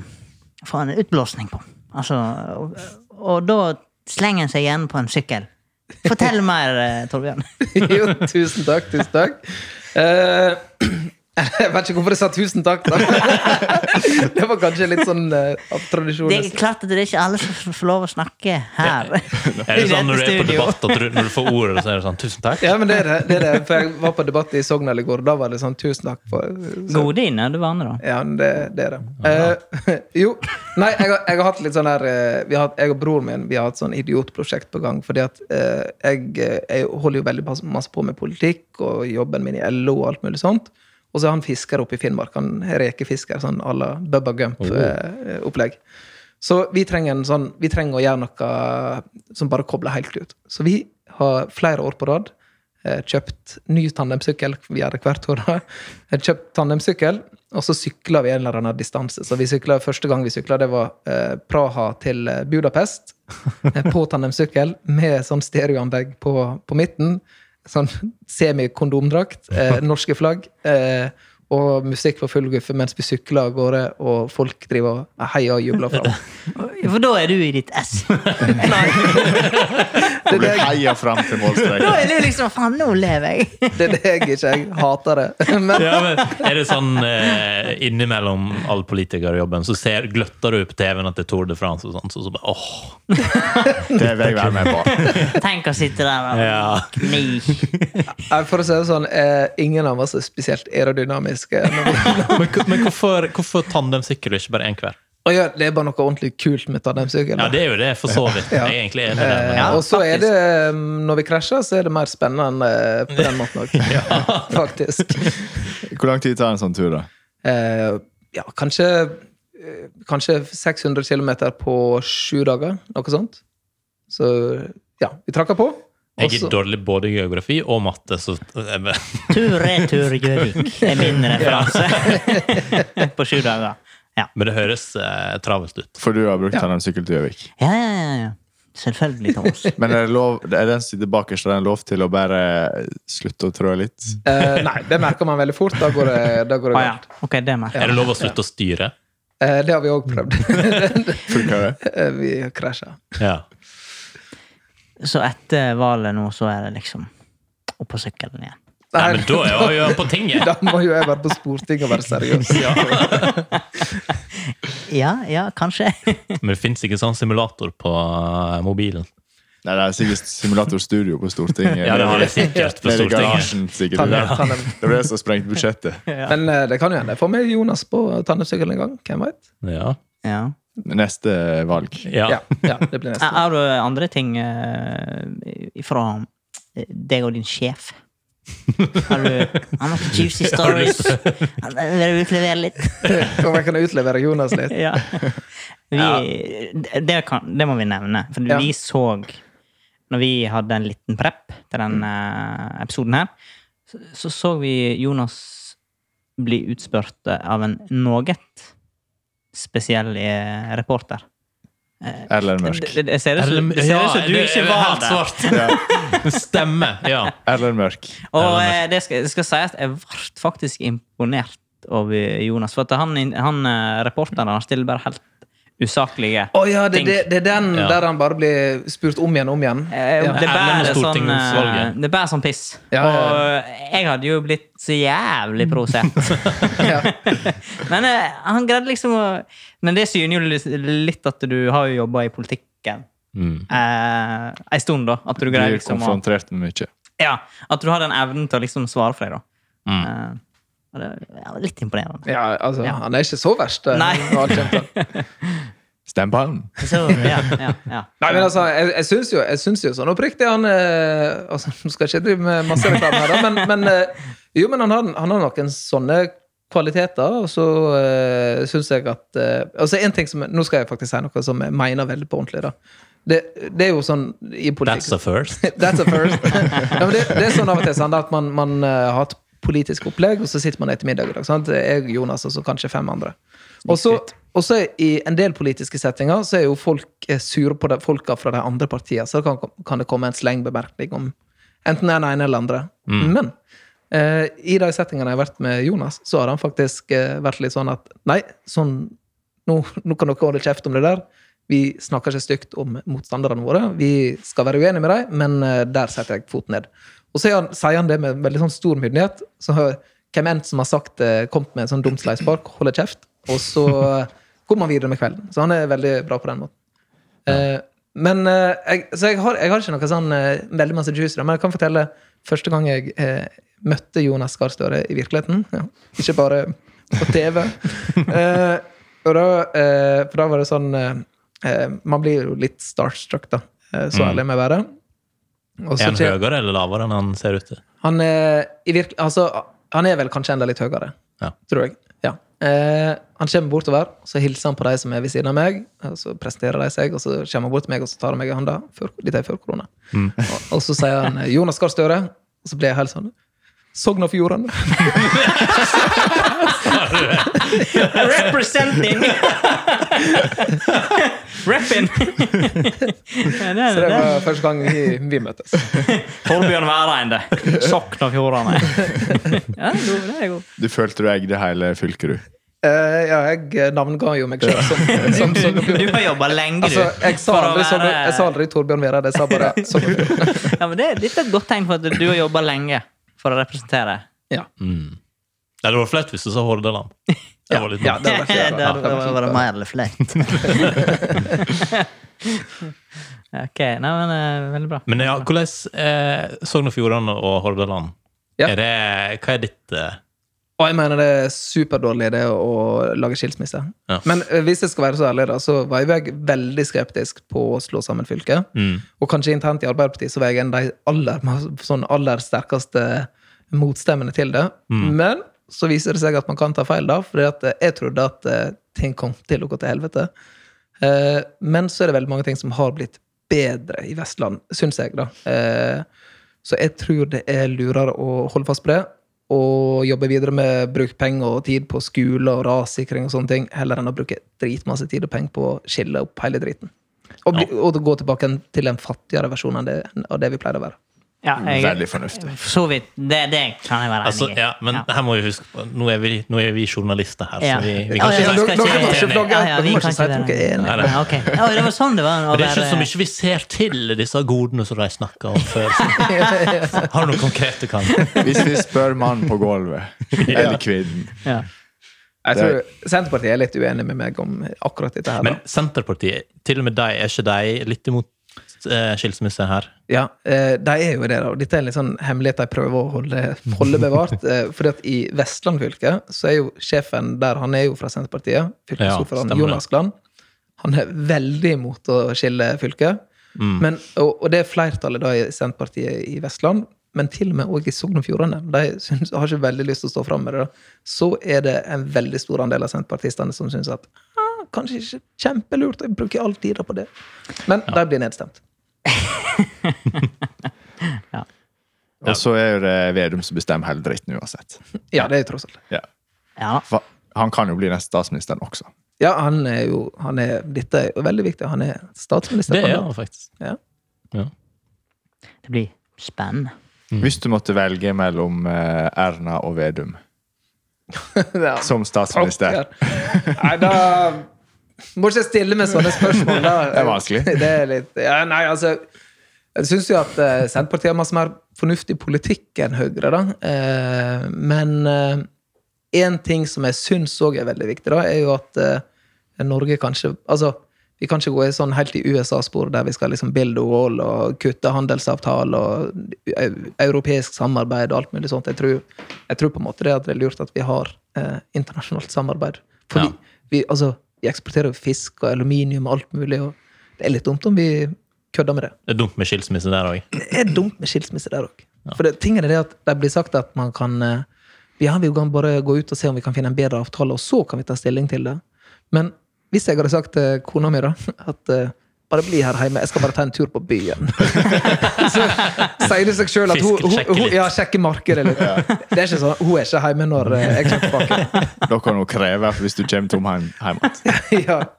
D: få en utblåsning på. Altså, og, og da slenger en seg igjen på en sykkel. Fortell mer, eh, Torbjørn.
B: jo, tusen takk, tusen takk. Eh, Jeg vet ikke hvorfor jeg sa tusen takk. Da. Det var kanskje litt sånn eh, av tradisjon.
D: Det er klart at det er ikke alle som får lov å snakke her.
C: Er det sånn når du er
D: Studio.
C: på debatt at du, når du får ordet, så er det sånn 'tusen takk'?
B: Ja, men det er det. det, er det. For jeg var på debatt i Sogndal i går, og da var det sånn tusen takk for så,
D: Gode i nødvane, da.
B: Ja, men det, det er det. Eh, jo. Nei, jeg har, jeg har hatt litt sånn her eh, vi har, hatt- Jeg og broren min vi har hatt sånn idiotprosjekt på gang. Fordi at eh, jeg, eh, jeg holder jo veldig pas- masse på med politikk og jobben min i LO og alt mulig sånt. Og så er han fisker oppe i Finnmark. Han er rekefisker, sånn à la Bubba Gump-opplegg. eh, Så vi trenger, en sånn, vi trenger å gjøre noe som bare kobler helt ut. Så vi har flere år på rad eh, kjøpt ny tandemsykkel. Vi gjør det hvert år. da. Eh, Kjøpt tandemsykkel, og så sykler vi en eller annen distanse. Så vi syklet, Første gang vi sykla, det var eh, Praha til eh, Budapest eh, på tandemsykkel med sånn stereoanlegg på, på midten. Sånn semikondomdrakt, eh, norske flagg. Eh, og musikk for full guffe mens vi sykler av gårde, og folk driver og heier og jubler fram.
D: For da er du i ditt ess.
B: Det er det
A: Blir
B: jeg
A: heia fram til
D: Da
A: målstreken.
D: er du liksom Faen, nå lever jeg!
B: Det er det jeg ikke jeg hater det. Men
C: Ja, men er det sånn eh, innimellom all politikerjobben, så ser, gløtter du på TV-en at det er Tour de France og sånn, så, så bare åh.
A: Det vil jeg være med på.
D: Tenk å sitte der og
C: Ja.
D: gni.
B: eh, for å si det sånn, eh, ingen av oss er spesielt aerodynamiske.
C: Men, hvor- men hvorfor, hvorfor tandemsykkel og ikke bare én hver?
B: Og ja, det er bare noe ordentlig kult med tandemsykkel.
C: Ja, det er jo det, for så vidt. Jeg er egentlig enig i det.
B: Eh,
C: men-
D: Ja,
B: og så er det, eh, når vi krasjer, så er det mer spennende eh, på den måten òg. Faktisk.
A: Hvor lang tid tar en sånn tur, da?
B: Eh, ja, kanskje eh, Kanskje 600 km på sju dager, noe sånt. Så ja, vi trakker på. og
C: Jeg
B: så-
C: er dårlig både i geografi og matte, så eh, jeg bare-
D: Tur-retur Gjøvik er min referanse. På sju dager. Ja.
C: Men det høres eh, travelt ut.
A: For du har brukt tandemsykkel til Gjøvik.
D: Ja, ja, ja, ja. Selvfølgelig, Thomas.
A: Men er, det lov, er den som sitter bakerst, er den lov til å bare slutte å trå litt?
B: Eh, nei, det merker man veldig fort. Da går det, da går
D: Å
B: det
D: Ah, ja.
B: galt.
D: Ok, det merker
C: Er
D: jeg.
C: det lov å slutte å styre?
B: Eh, det har vi òg prøvd.
A: Funker det?
B: Eh, vi krasja.
C: Ja.
D: Så etter valet nå, så er det liksom opp på sykkelen igjen.
C: Nei, men da er jeg jo på tinget!
B: da må jo jeg være på Stortinget og være seriøs.
C: Ja.
D: Ja, ja, kanskje.
C: Men det fins ikke sånn simulator på eh, mobilen.
A: Nei, det er sikkert simulatorstudio på Stortinget.
C: Ja, det har det sikkert på
A: Nede i
C: Stortinget.
A: garasjen, sikkert.
B: Tandem,
A: Det
B: tandem.
A: var det som sprengte budsjettet.
B: Men eh, det kan jo hende jeg får med Jonas på tandemsykkel en gang. Hvem vet?
C: Ja.
D: Ja.
A: Neste valg.
C: ja.
B: Ja. ja, det blir neste.
D: Er det andre ting eh, fra eh, deg og din sjef? Har du har noen juicy
C: Har du
D: stories? Vil du utlevere litt?
B: Om jeg kan utlevere Jonas litt.
D: Ja. Vi,
C: Ja.
D: Det, kan, det må vi nevne. For
B: Ja.
D: vi så Når vi hadde en liten prep til den eh, episoden her, så, så så vi Jonas bli utspurt av en noget spesiell eh, reporter.
A: Erlend Mørk.
D: Det, det, det ser ut som det ser
C: Ja,
D: ut som du
C: det-
D: ikke
C: det er
D: var
C: helt
D: der.
C: svart.
A: Ja,
C: Stemme. Ja.
A: Erlend Mørk.
D: Og
C: Erlend
D: eh, det skal, det skal sies at jeg ble faktisk imponert over Jonas. For at han, han eh, reporteren han stiller bare helt usaklige
B: Å ja, det,
D: ting.
B: det, det er den
C: Ja.
B: der han bare blir spurt om igjen og om igjen.
D: Eh,
B: Ja.
D: Det bærer
C: Erlend og
D: sånn, eh,
C: stortingsvalget.
D: det bærer sånn piss.
B: Ja, ja, ja.
D: Og jeg hadde jo blitt så jævlig provosert.
B: Ja.
D: men eh, han greide liksom å Men det syner jo li- litt at du har jo jobba i politikken
C: Mm.
D: eh, ei stund, da. At du greier
A: Blir
D: liksom å
A: konfrontert med mye.
D: Ja, at du har den evnen til å liksom svare for deg, da.
C: Mm.
D: Eh, og det ja, det er litt imponerende.
B: ja, altså,
D: Ja.
B: han er ikke så verst. eh,
D: Nei.
B: han har kjent han.
A: Stem på han.
D: Så, ja, ja, ja.
B: Nei, men altså, jeg, jeg syns jo, jeg syns jo sånn oppriktig han eh, altså, Nå skal jeg ikke drive med masse reklame her, da, men, men eh, jo, men han har, han har noen sånne kvaliteter, og så eh, syns jeg at eh, Altså, en ting som Nå skal jeg faktisk si noe som jeg mener veldig på ordentlig, da. Det, det er jo sånn i
C: That's
B: politikk
C: a first.
B: That's a first. ja, men det, det er sånn av og til sant, at man, man eh, har et politisk opplegg, og så sitter man etter middag i dag. Sant? Jeg, Jonas og så kanskje fem andre. Og så og så i en del politiske settinger så er jo folk eh, sure på de, folka fra de andre partiene, så kan, kan det komme en slengbemerkning om enten den ene eller andre. Men eh, i de settingene jeg har vært med Jonas, så har han faktisk eh, vært litt sånn at nei, sånn, nå, nå kan dere holde kjeft om det der. Vi snakker ikke stygt om motstanderne våre. Vi skal være uenige med dem, men eh, der setter jeg foten ned. Og så er han, sier han det med veldig sånn stor myndighet. Så hvem enn som har sagt eh, kommet med en sånn dum sleivspark, holder kjeft. Og så eh, kommer han videre med kvelden. Så han er veldig bra på den måten. Eh, men eh, jeg, Så jeg har, jeg har ikke noe sånn eh, veldig masse juice, i det, men jeg kan fortelle første gang jeg eh, møtte Jonas Gahr Støre i virkeligheten. Ja. Ikke bare på TV. Eh, og da, eh, for da var det sånn eh, eh, Man blir jo litt starstruck, da. Eh, så ærlig må jeg være. Og så
C: Er han
B: skjer-
C: høyere eller lavere enn han ser ut til?
B: han er, i virke, altså, han er vel kanskje enda litt høyere,
C: Ja.
B: tror jeg. Ja. Eh, han kommer bortover, så hilser han på de som er ved siden av meg. og Så presenterer de seg, og så kommer han bort til meg og så tar han meg i hånda. Før, dette er før korona. Og, og så sier han eh, 'Jonas Gahr Støre', og så blir jeg helt sånn Sogn og Fjordane.
D: Representing! Rapping! Ja, det
B: Så
D: er
B: det
D: det.
B: var første gang vi, vi møttes.
D: Torbjørn Væreide. Sokn og Fjordane. Ja, det er god. Det er god.
A: Du følte du eide hele fylket, du.
B: Eh, ja, jeg navnga jo meg sjøl som, som Sogn og
D: Du,
B: Fjordane.
D: du har jobba lenge, du.
B: Altså, jeg sa
D: for å
B: aldri, Sogn og-
D: være-
B: jeg sa aldri Torbjørn Vereide, jeg sa bare Sogn og Fjordane.
D: ja, men det, Dette er et godt tegn for at du har jobba lenge for å representere.
B: Ja.
C: Mm. Nei, det var flaut hvis du sa Hordaland. Det var litt
B: Ja,
C: dumt.
B: det var fint, da.
D: Der var det mer eller flett. ok, nei, men eh, veldig bra.
C: Men ja, hvordan eh, Sogn og Fjordane og Hordaland
B: Ja.
C: er det, Hva er ditt eh,
B: Og jeg mener det er superdårlig det å lage skilsmisse.
C: Ja.
B: Men eh, hvis jeg skal være så ærlig, da, så var jo jeg veldig skeptisk på å slå sammen fylket.
C: mm.
B: Og kanskje internt i Arbeiderpartiet så var jeg en av de aller, sånn aller sterkeste motstemmene til det. Men så viser det seg at man kan ta feil, da, for jeg trodde at eh, ting kom til å gå til helvete. Eh, Men så er det veldig mange ting som har blitt bedre i Vestland, syns jeg, da. Eh, Så jeg tror det er lurere å holde fast på det. Og jobbe videre med bruk penger og tid på skole og rassikring og sånne ting, heller enn å bruke dritmasse tid og penger på å skille opp hele driten. Og, bli, og gå tilbake en- til en fattigere versjon enn det, av det vi pleide å være.
D: Ja, jeg,
A: Veldig fornuftig.
D: for så vidt. Det, det kan jeg være
C: altså,
D: enig i.
C: ja, Men her må vi huske på Nå er vi, nå er vi journalister her,
D: Ja.
C: så vi, vi
D: Ja, ja,
C: kan ikke
D: ja,
C: si
D: dere- dere må
B: ikke flagge.
D: Ja, ja, vi
B: Dere må
D: kan
B: ikke si at dere er enige.
C: Nei, nei.
D: Ja, ok. Ja, det var sånn det var. å
C: Det er ikke
D: være-
C: så mye vi ser til disse godene som de snakker om før. Har du noe konkret du kan?
A: Hvis vi spør mannen på gulvet, eller kvinnen
D: Ja.
B: Jeg tror Senterpartiet er litt uenig med meg om akkurat dette her. da.
C: Men Senterpartiet, til og med de, er ikke de litt imot eh, skilsmisse her?
B: Ja, eh, de er jo det, da. Og Dette er en litt sånn hemmelighet de prøver å holde, holde bevart. eh, fordi at i Vestland fylke så er jo sjefen der, han er jo fra Senterpartiet,
C: Ja,
B: fylkesordføreren
C: stemmer det.
B: Jonas Gland. Han er veldig imot å skille fylket.
C: Mm.
B: Men, og, og det er flertallet da i Senterpartiet i Vestland, men til og med også i Sogn og Fjordane. De syns, har ikke veldig lyst til å stå fram med det. da. Så er det en veldig stor andel av senterpartistene som syns at ah, kanskje ikke kjempelurt, jeg bruker all tida på det. Men de blir nedstemt.
A: Og så er jo det Vedum som bestemmer hele dritten uansett.
B: Ja, det er tross alt.
A: Ja.
D: Ja.
A: Fa- Han kan jo bli neste statsministeren også.
B: Ja, han er jo han er, Dette er jo veldig viktig. Han er statsminister.
C: Det
B: for
C: er
B: Norge.
C: det faktisk.
B: Ja.
C: Ja.
D: Det blir spennende.
C: Mm.
A: Hvis du måtte velge mellom eh, Erna og Vedum
B: Ja.
A: som statsminister
B: Pokker. Nei, da må ikke jeg stille med sånne spørsmål. Da.
A: Det er vanskelig.
B: Det er litt, ja, nei, altså, jeg syns jo at eh, Senterpartiet har masse mer fornuftig politikk enn Høyre, da. Eh, men én ting som jeg syns òg er veldig viktig, da, er jo at eh, Norge kanskje Altså, vi kan ikke gå i sånn helt i USA-spor der vi skal liksom build a wall og kutte handelsavtaler og eu- europeisk samarbeid og alt mulig sånt. Jeg tror, jeg tror på en måte det at det er lurt at vi har eh, internasjonalt samarbeid. Fordi
C: Ja.
B: vi, altså, vi eksporterer jo fisk og aluminium og alt mulig, og det er litt dumt om vi kødder med det.
C: Det er dumt med skilsmisse der òg.
B: Det er dumt med skilsmisse der òg. For det, tingen er det at det blir sagt at man kan eh, Ja, vi kan bare gå ut og se om vi kan finne en bedre avtale, og så kan vi ta stilling til det. Men hvis jeg hadde sagt til kona mi da, at eh, bare bli her hjemme, jeg skal bare ta en tur på byen. så sier det seg sjøl at hun, hun,
C: Fiskesjekke
B: hun
C: litt.
B: ja, sjekker markedet litt. Det er ikke sånn, Hun er ikke hjemme når eh, jeg kommer tilbake.
A: Da kan hun kreve hvis du kommer tom hjem. hjem igjen.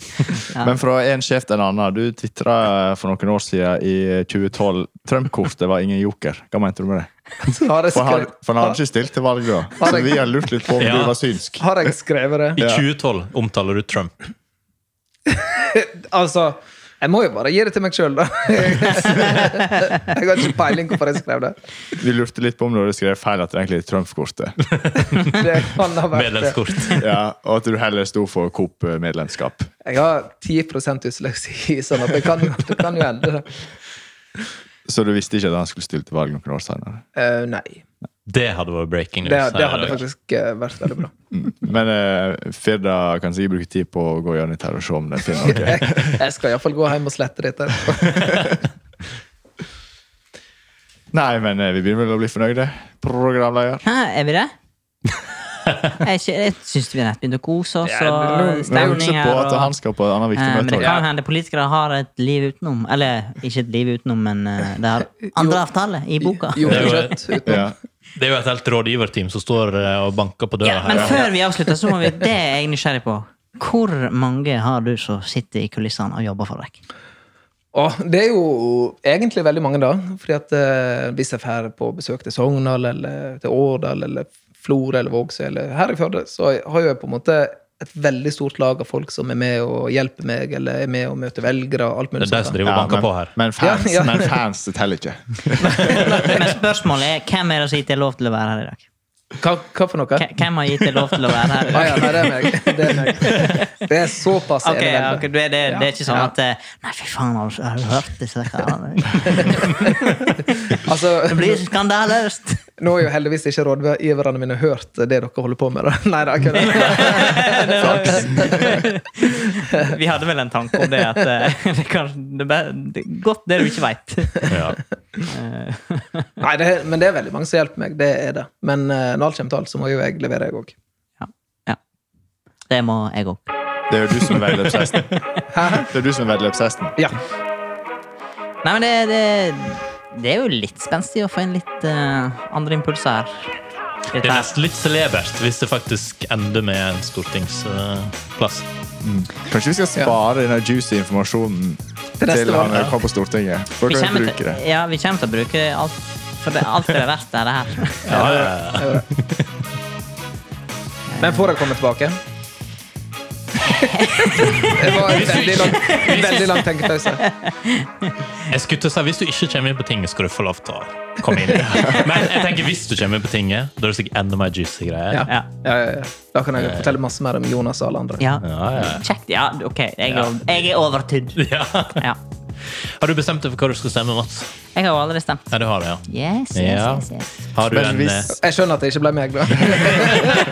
B: ja.
A: Men fra en sjef til en annen. Du tvitra for noen år siden i eh, 2012 Trump-kortet var ingen joker. Hva mente du med det?
B: Så har jeg
A: For han,
B: skrevet,
A: for han hadde ikke stilt til valg da. Så vi har lurt litt på om
C: Ja.
A: du var synsk.
B: har jeg skrevet det?
C: I 2012 omtaler du Trump.
B: Altså, Jeg må jo bare gi det til meg sjøl, da. jeg har ikke peiling hvorfor jeg skrev det.
A: Vi lurte litt på om du hadde skrevet feil at det egentlig er Trumf-kortet.
B: Det kan ha vært det.
C: Medlemskort.
A: Ja, og at du heller sto for Coop-medlemskap.
B: Jeg har 10 dysleksi, sånn at det kan, det kan jo hende. da.
A: Så du visste ikke at han skulle stille til valg noen år senere.
B: Eh, nei.
C: Det hadde vært breaking news.
B: Det, det
C: her i
B: hadde
C: dag.
B: faktisk eh, vært veldig bra.
A: Men eh, Firda kan sikkert bruke tid på å gå gjennom dette her og se om den finner noe.
B: Jeg, jeg skal iallfall gå hjem og slette dette.
A: Nei, men eh, vi begynner vel å bli fornøyde. Programleder.
D: Hæ, er vi det? Jeg, sy- jeg syns vi nett begynte å kose oss, og
A: Men jeg husker
D: stemning
A: på
D: her.
A: at han
D: Og,
A: skal på et annet
D: eh, men
A: viktig
D: det
A: møte.
D: kan jo hende politikere har et liv utenom. Eller ikke et liv utenom, men eh, det har andre avtaler i boka.
B: Jo,
C: Det var-
B: kjøtt uten
A: Ja.
C: Det er jo et helt rådgiverteam som står eh, og banker på døra
D: Ja, men
C: her.
D: før vi avslutter, så må vi Det er jeg nysgjerrig på. Hvor mange har du som sitter i kulissene og jobber for deg?
B: Åh, det er jo egentlig veldig mange, da. Fordi at eh, hvis jeg drar på besøk til Sogndal eller til Årdal eller Flora eller Vågsøy eller her i Førde, så har jo jeg på en måte et veldig stort lag av folk som er med og hjelper meg, eller er med og møter velgere og alt
C: Det
B: mulig
C: er de som
B: sånt. da.
C: driver og
A: Ja,
C: banker
A: men,
C: på her.
A: men fans,
B: Ja, ja.
A: men fans det teller ikke.
D: Men spørsmålet er hvem er det som har gitt deg lov til å være her i dag?
B: Hva, hva for noe?
D: K- Hvem har gitt deg lov til å være her i
B: Ah,
D: dag?
B: ja, nei, det er meg. Det er, meg. Det er såpass
D: Ok,
B: er det
D: ja,
B: vel.
D: ok, det, det, det er ikke sånn
B: Ja.
D: at eh, Nei, fy faen, har du, har du hørt disse karene? Det
B: Altså,
D: blir skandaløst!
B: nå er jo heldigvis ikke rådgiverne mine hørt det dere holder på med. da. Nei, da, jeg kødder.
D: Vi hadde vel en tanke om det, at eh, det, kan, det, er bare- det er godt det du ikke veit.
C: Ja.
B: Nei, det, er- men det er veldig mange som hjelper meg. Det er det. Men eh, når alt kommer til alt, så må jo jeg levere, jeg òg.
D: Det må jeg òg.
A: Det er jo du som er vedløpshesten. Det er du som er vedløpshesten.
B: Ja.
D: Nei, men det, det, det er jo litt spenstig å få inn litt eh, andre impulser her. Litt
C: Det er
D: her.
C: nesten litt celebert hvis det faktisk ender med en stortingsplass.
A: Kanskje vi skal spare denne juicy informasjonen
B: Til
A: til,
B: neste
A: han
B: valg, ja.
A: kommer på Stortinget? For
D: Vi
A: dere
D: kommer,
A: bruker
D: til,
A: det.
D: ja, vi kommer til å bruke alt for det, alt det er verdt, er det her.
C: Ja, ja, ja.
B: Men får jeg komme tilbake? Det var en veldig lang, veldig lang tenkepause.
C: Jeg skulle til å si, Hvis du ikke kommer inn på tinget, skal du få lov til å komme inn. Men jeg tenker, hvis du kommer inn på tinget, da er det sikkert enda mer juicy greier.
B: Ja.
D: Ja.
B: Ja, ja, ja. Da kan jeg fortelle masse mer om Jonas og alle andre.
D: Ja.
C: Ja, ja.
D: Kjekt. Ja, OK. Jeg,
C: Ja.
D: er- jeg er overtydd.
C: Ja.
D: Ja.
C: Har du bestemt deg for hva du skal stemme, Mats?
D: Jeg har jo allerede stemt.
C: Ja, du har det, ja.
D: Yes, yes,
C: Ja.
D: yes, yes.
C: Har du
A: Men
C: en,
A: hvis-
C: eh,
B: Jeg skjønner at det ikke ble meg, da.
C: eh,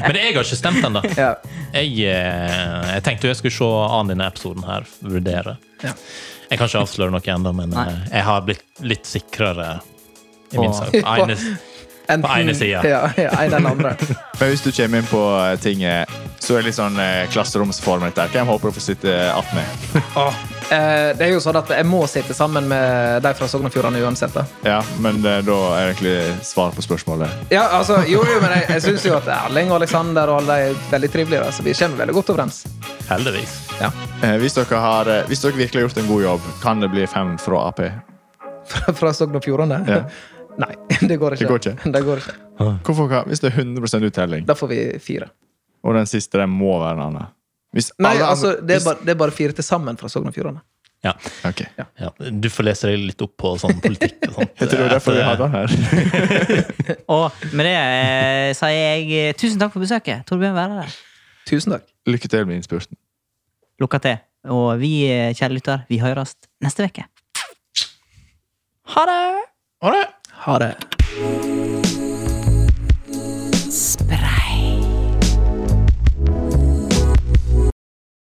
C: men jeg har ikke stemt ennå.
B: Ja.
C: Jeg, eh, jeg tenkte jo jeg skulle se an denne episoden her, vurdere.
B: Ja.
C: Jeg kan ikke avsløre noe ennå, men
D: Nei.
C: eh, jeg har blitt litt sikrere i min
D: På-
C: sak. Ene,
B: Enten-
C: På ene siden.
B: Ja, ja, en eller andre.
A: Men hvis du kommer inn på eh, tinget, så er det litt sånn eh, klasseromsformen der. Hvem håper du får sitte attmed?
B: Eh, Det er jo sånn at jeg må sitte sammen med de fra Sogn og Fjordane uansett. da.
A: Ja, men eh, da er egentlig svar på spørsmålet.
B: Ja, altså, jo, jo, men jeg, jeg syns jo at Erling og Aleksander og alle er veldig trivelige. da, Så vi kommer veldig godt overens.
C: heldigvis.
B: Ja.
A: Eh, Hvis dere, har, eh, hvis dere virkelig har gjort en god jobb, kan det bli fem fra Ap.
B: Fra, fra Sogn og Fjordane?
A: Ja.
B: Nei, det går ikke.
A: Det går ikke.
B: Det går ikke.
A: Hvorfor, kan- hvis det er 100 uttelling,
B: Da får vi fire.
A: og den siste den må være en annen Hvis
B: Nei,
A: alle andre-
B: altså, det er,
A: hvis-
B: bare, det er bare fire til sammen fra Sogn og Fjordane.
C: Ja.
A: Ok.
C: Ja. Du får lese deg litt opp på sånn politikk og sånt.
A: Jeg tror det er derfor vi hadde den her.
D: Og med det eh, sier jeg eh, tusen takk for besøket. Torbjørn Værere.
B: Tusen takk.
A: Lykke til med innspurten.
D: Lukka til. Og vi, eh, kjære lytter, vi høres neste uke. Ha det!
B: Ha det.